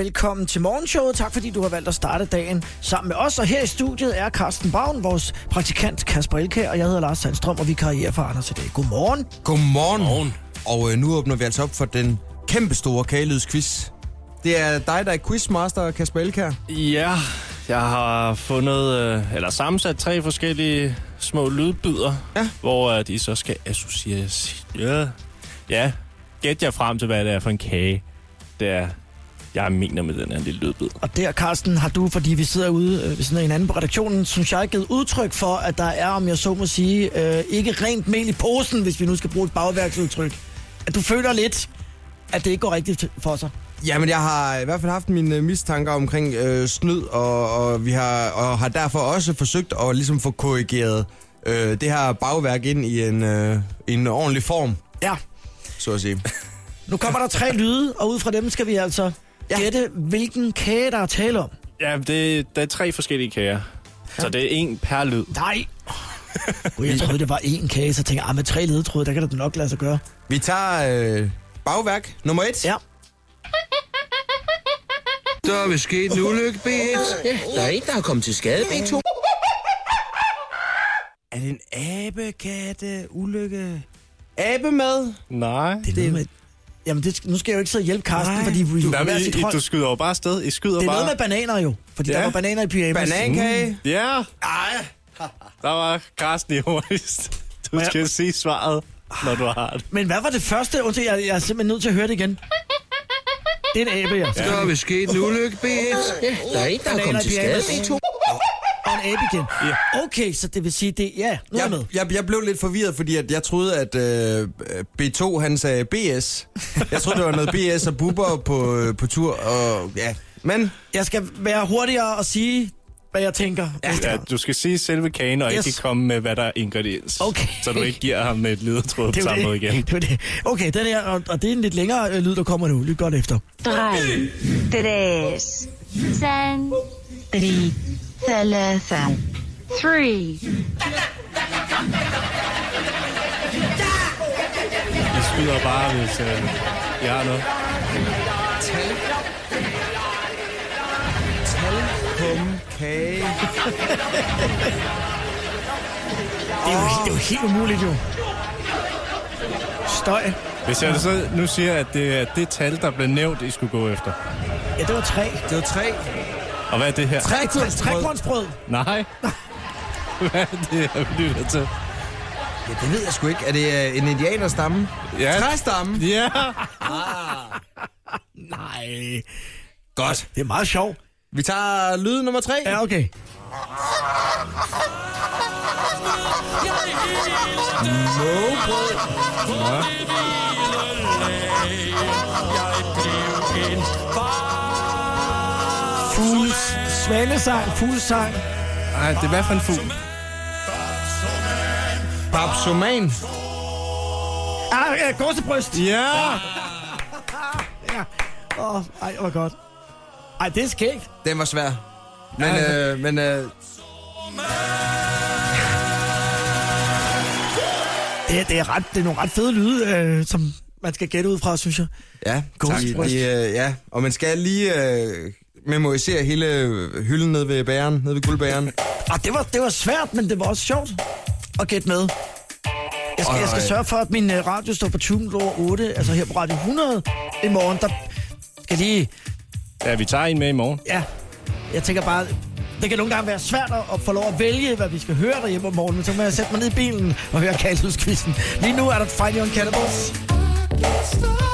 Velkommen til morgenshowet. Tak fordi du har valgt at starte dagen sammen med os. Og her i studiet er Carsten Bavn, vores praktikant Kasper Elkær, og jeg hedder Lars Sandstrøm, og vi karrierer for Anders i dag. Godmorgen. Godmorgen. Morgen. Og øh, nu åbner vi altså op for den kæmpe store kagelydsquiz. Det er dig, der er quizmaster, Kasper Elkær. Ja, jeg har fundet, øh, eller sammensat tre forskellige små lydbyder, Ja. hvor at I så skal associeres. Ja, ja gæt jer frem til, hvad det er for en kage, det er, jeg mener med den her lille lydbid. Og der, Carsten, har du, fordi vi sidder ude øh, ved siden af hinanden på redaktionen, synes jeg, givet udtryk for, at der er, om jeg så må sige, øh, ikke rent mel i posen, hvis vi nu skal bruge et bagværksudtryk. At du føler lidt, at det ikke går rigtigt for sig. Jamen, jeg har i hvert fald haft mine øh, mistanker omkring øh, snyd, og, og vi har, og har derfor også forsøgt at ligesom få korrigeret øh, det her bagværk ind i en, øh, i en ordentlig form, Ja, så at sige. nu kommer der tre lyde, og ud fra dem skal vi altså Ja. gætte, hvilken kage, der er tale om. Ja, det, der er tre forskellige kager. Så det er en per lyd. Nej! Gud, jeg troede, det var én kage, så tænkte jeg, ah, med tre ledetråde, der kan det nok lade sig gøre. Vi tager øh, bagværk nummer et. Ja, Der er vist sket en ulykke, B1. Ja, der er en, der er kommet til skade, B2. Er det en abekatte ulykke? Abemad? Nej. det er noget med... Jamen, det, skal- nu skal jeg jo ikke sidde og hjælpe Carsten, Nej. fordi vi Hvad hver med, I, sit I, hold. du skyder jo bare sted. I skyder Det er bare... noget med bananer jo, fordi ja. Ja. der var bananer i pyjamas. Banankage? Ja. Ej. Der var Carsten i hurtigst. Du skal sige svaret, når du har det. Men hvad var det første? Undskyld, jeg, jeg er simpelthen nødt til at høre det igen. Det er en abe, ja. Der er vist sket en ulykke, B1. Ja, der er en, der er kommet til skade, B2. Og en abe igen. Ja. Okay, så det vil sige, det ja, nu er jeg med. Jeg, jeg, jeg blev lidt forvirret, fordi at jeg troede, at øh, B2 han sagde BS. Jeg troede, det var noget BS og buber på, øh, på tur. Og, ja. Men Jeg skal være hurtigere og sige, hvad jeg tænker. næste Ja, gang. du skal sige selve kagen, og Yes. yes. ikke komme med, hvad der er ingrediens. Okay. Så du ikke giver ham et ledetråd Det på er jo samme måde det. igen. Det er jo det. Okay, den her, og, og det er en lidt længere øh, lyd, der kommer nu. Lyt godt efter. 3 3 3 3 3 3 Jeg skyder bare, hvis øh, jeg har noget. talkum kage. Det er jo, det er jo helt umuligt, jo. Støj. Hvis jeg så nu siger, at det er det tal, der blev nævnt, I skulle gå efter. Ja, det var tre. Det var tre. Og hvad er det her? Trekornsbrød. Trekornsbrød. Nej. Hvad er det her, vi lytter til? Ja, det ved jeg sgu ikke. Er det øh, en indianerstamme? Ja. Træstamme? Ja. Nej. Godt. Det er meget sjovt. Vi tager lyd nummer tre. Ja, okay. Mågebrød. Fugles. Svanesang, fuglesang. Nej, det er hvad for en fugl? Babsoman. Ah, ja, gåsebryst. Ja! Ja. Åh, oh, ej, hvor godt. Ej, det er skægt. Den var svær. Men, Ja. øh, men øh, Det, er- det, er ret, det er nogle ret fede lyde, øh, som man skal gætte ud fra, synes jeg. Ja, God tak. sprøjt. I, øh, ja, og man skal lige øh, memorisere hele øh, hylden nede ved bæren, nede ved guldbæren. Og Ah, det var, det var svært, men det var også sjovt at gætte med. Jeg skal, jeg skal Ej. sørge for, at min øh, radio står på 20 minutter over 8, altså her på Radio 100 i morgen. Der skal lige... Ja, vi tager en med i morgen. Ja, jeg tænker bare... Det kan nogle gange være svært at- at få lov at vælge, hvad vi skal høre derhjemme om morgenen. Så må jeg sætte mig ned i bilen og høre kaldhedskvisten. Lige nu er der Find Your Cannibals. Stop.